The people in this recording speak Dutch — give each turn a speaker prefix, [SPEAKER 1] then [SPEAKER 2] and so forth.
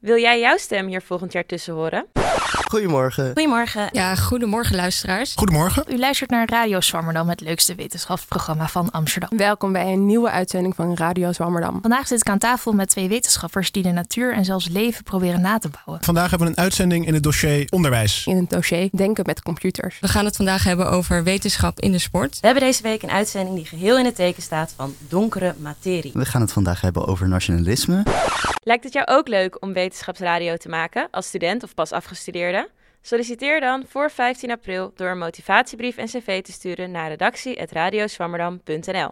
[SPEAKER 1] Wil jij jouw stem hier volgend jaar tussen horen?
[SPEAKER 2] Goedemorgen.
[SPEAKER 1] Goedemorgen.
[SPEAKER 3] Ja, goedemorgen luisteraars.
[SPEAKER 4] Goedemorgen.
[SPEAKER 5] U luistert naar Radio Swammerdam, het leukste wetenschapsprogramma van Amsterdam.
[SPEAKER 6] Welkom bij een nieuwe uitzending van Radio Zwammerdam.
[SPEAKER 5] Vandaag zit ik aan tafel met twee wetenschappers die de natuur en zelfs leven proberen na te bouwen.
[SPEAKER 4] Vandaag hebben we een uitzending in het dossier onderwijs.
[SPEAKER 6] In het dossier Denken met computers.
[SPEAKER 3] We gaan het vandaag hebben over wetenschap in de sport.
[SPEAKER 1] We hebben deze week een uitzending die geheel in het teken staat van donkere materie.
[SPEAKER 2] We gaan het vandaag hebben over nationalisme.
[SPEAKER 1] Lijkt het jou ook leuk om wetenschapsradio te maken als student of pas afgestudeerde? Solliciteer dan voor 15 april door een motivatiebrief en cv te sturen naar redactie.radioswammerdam.nl.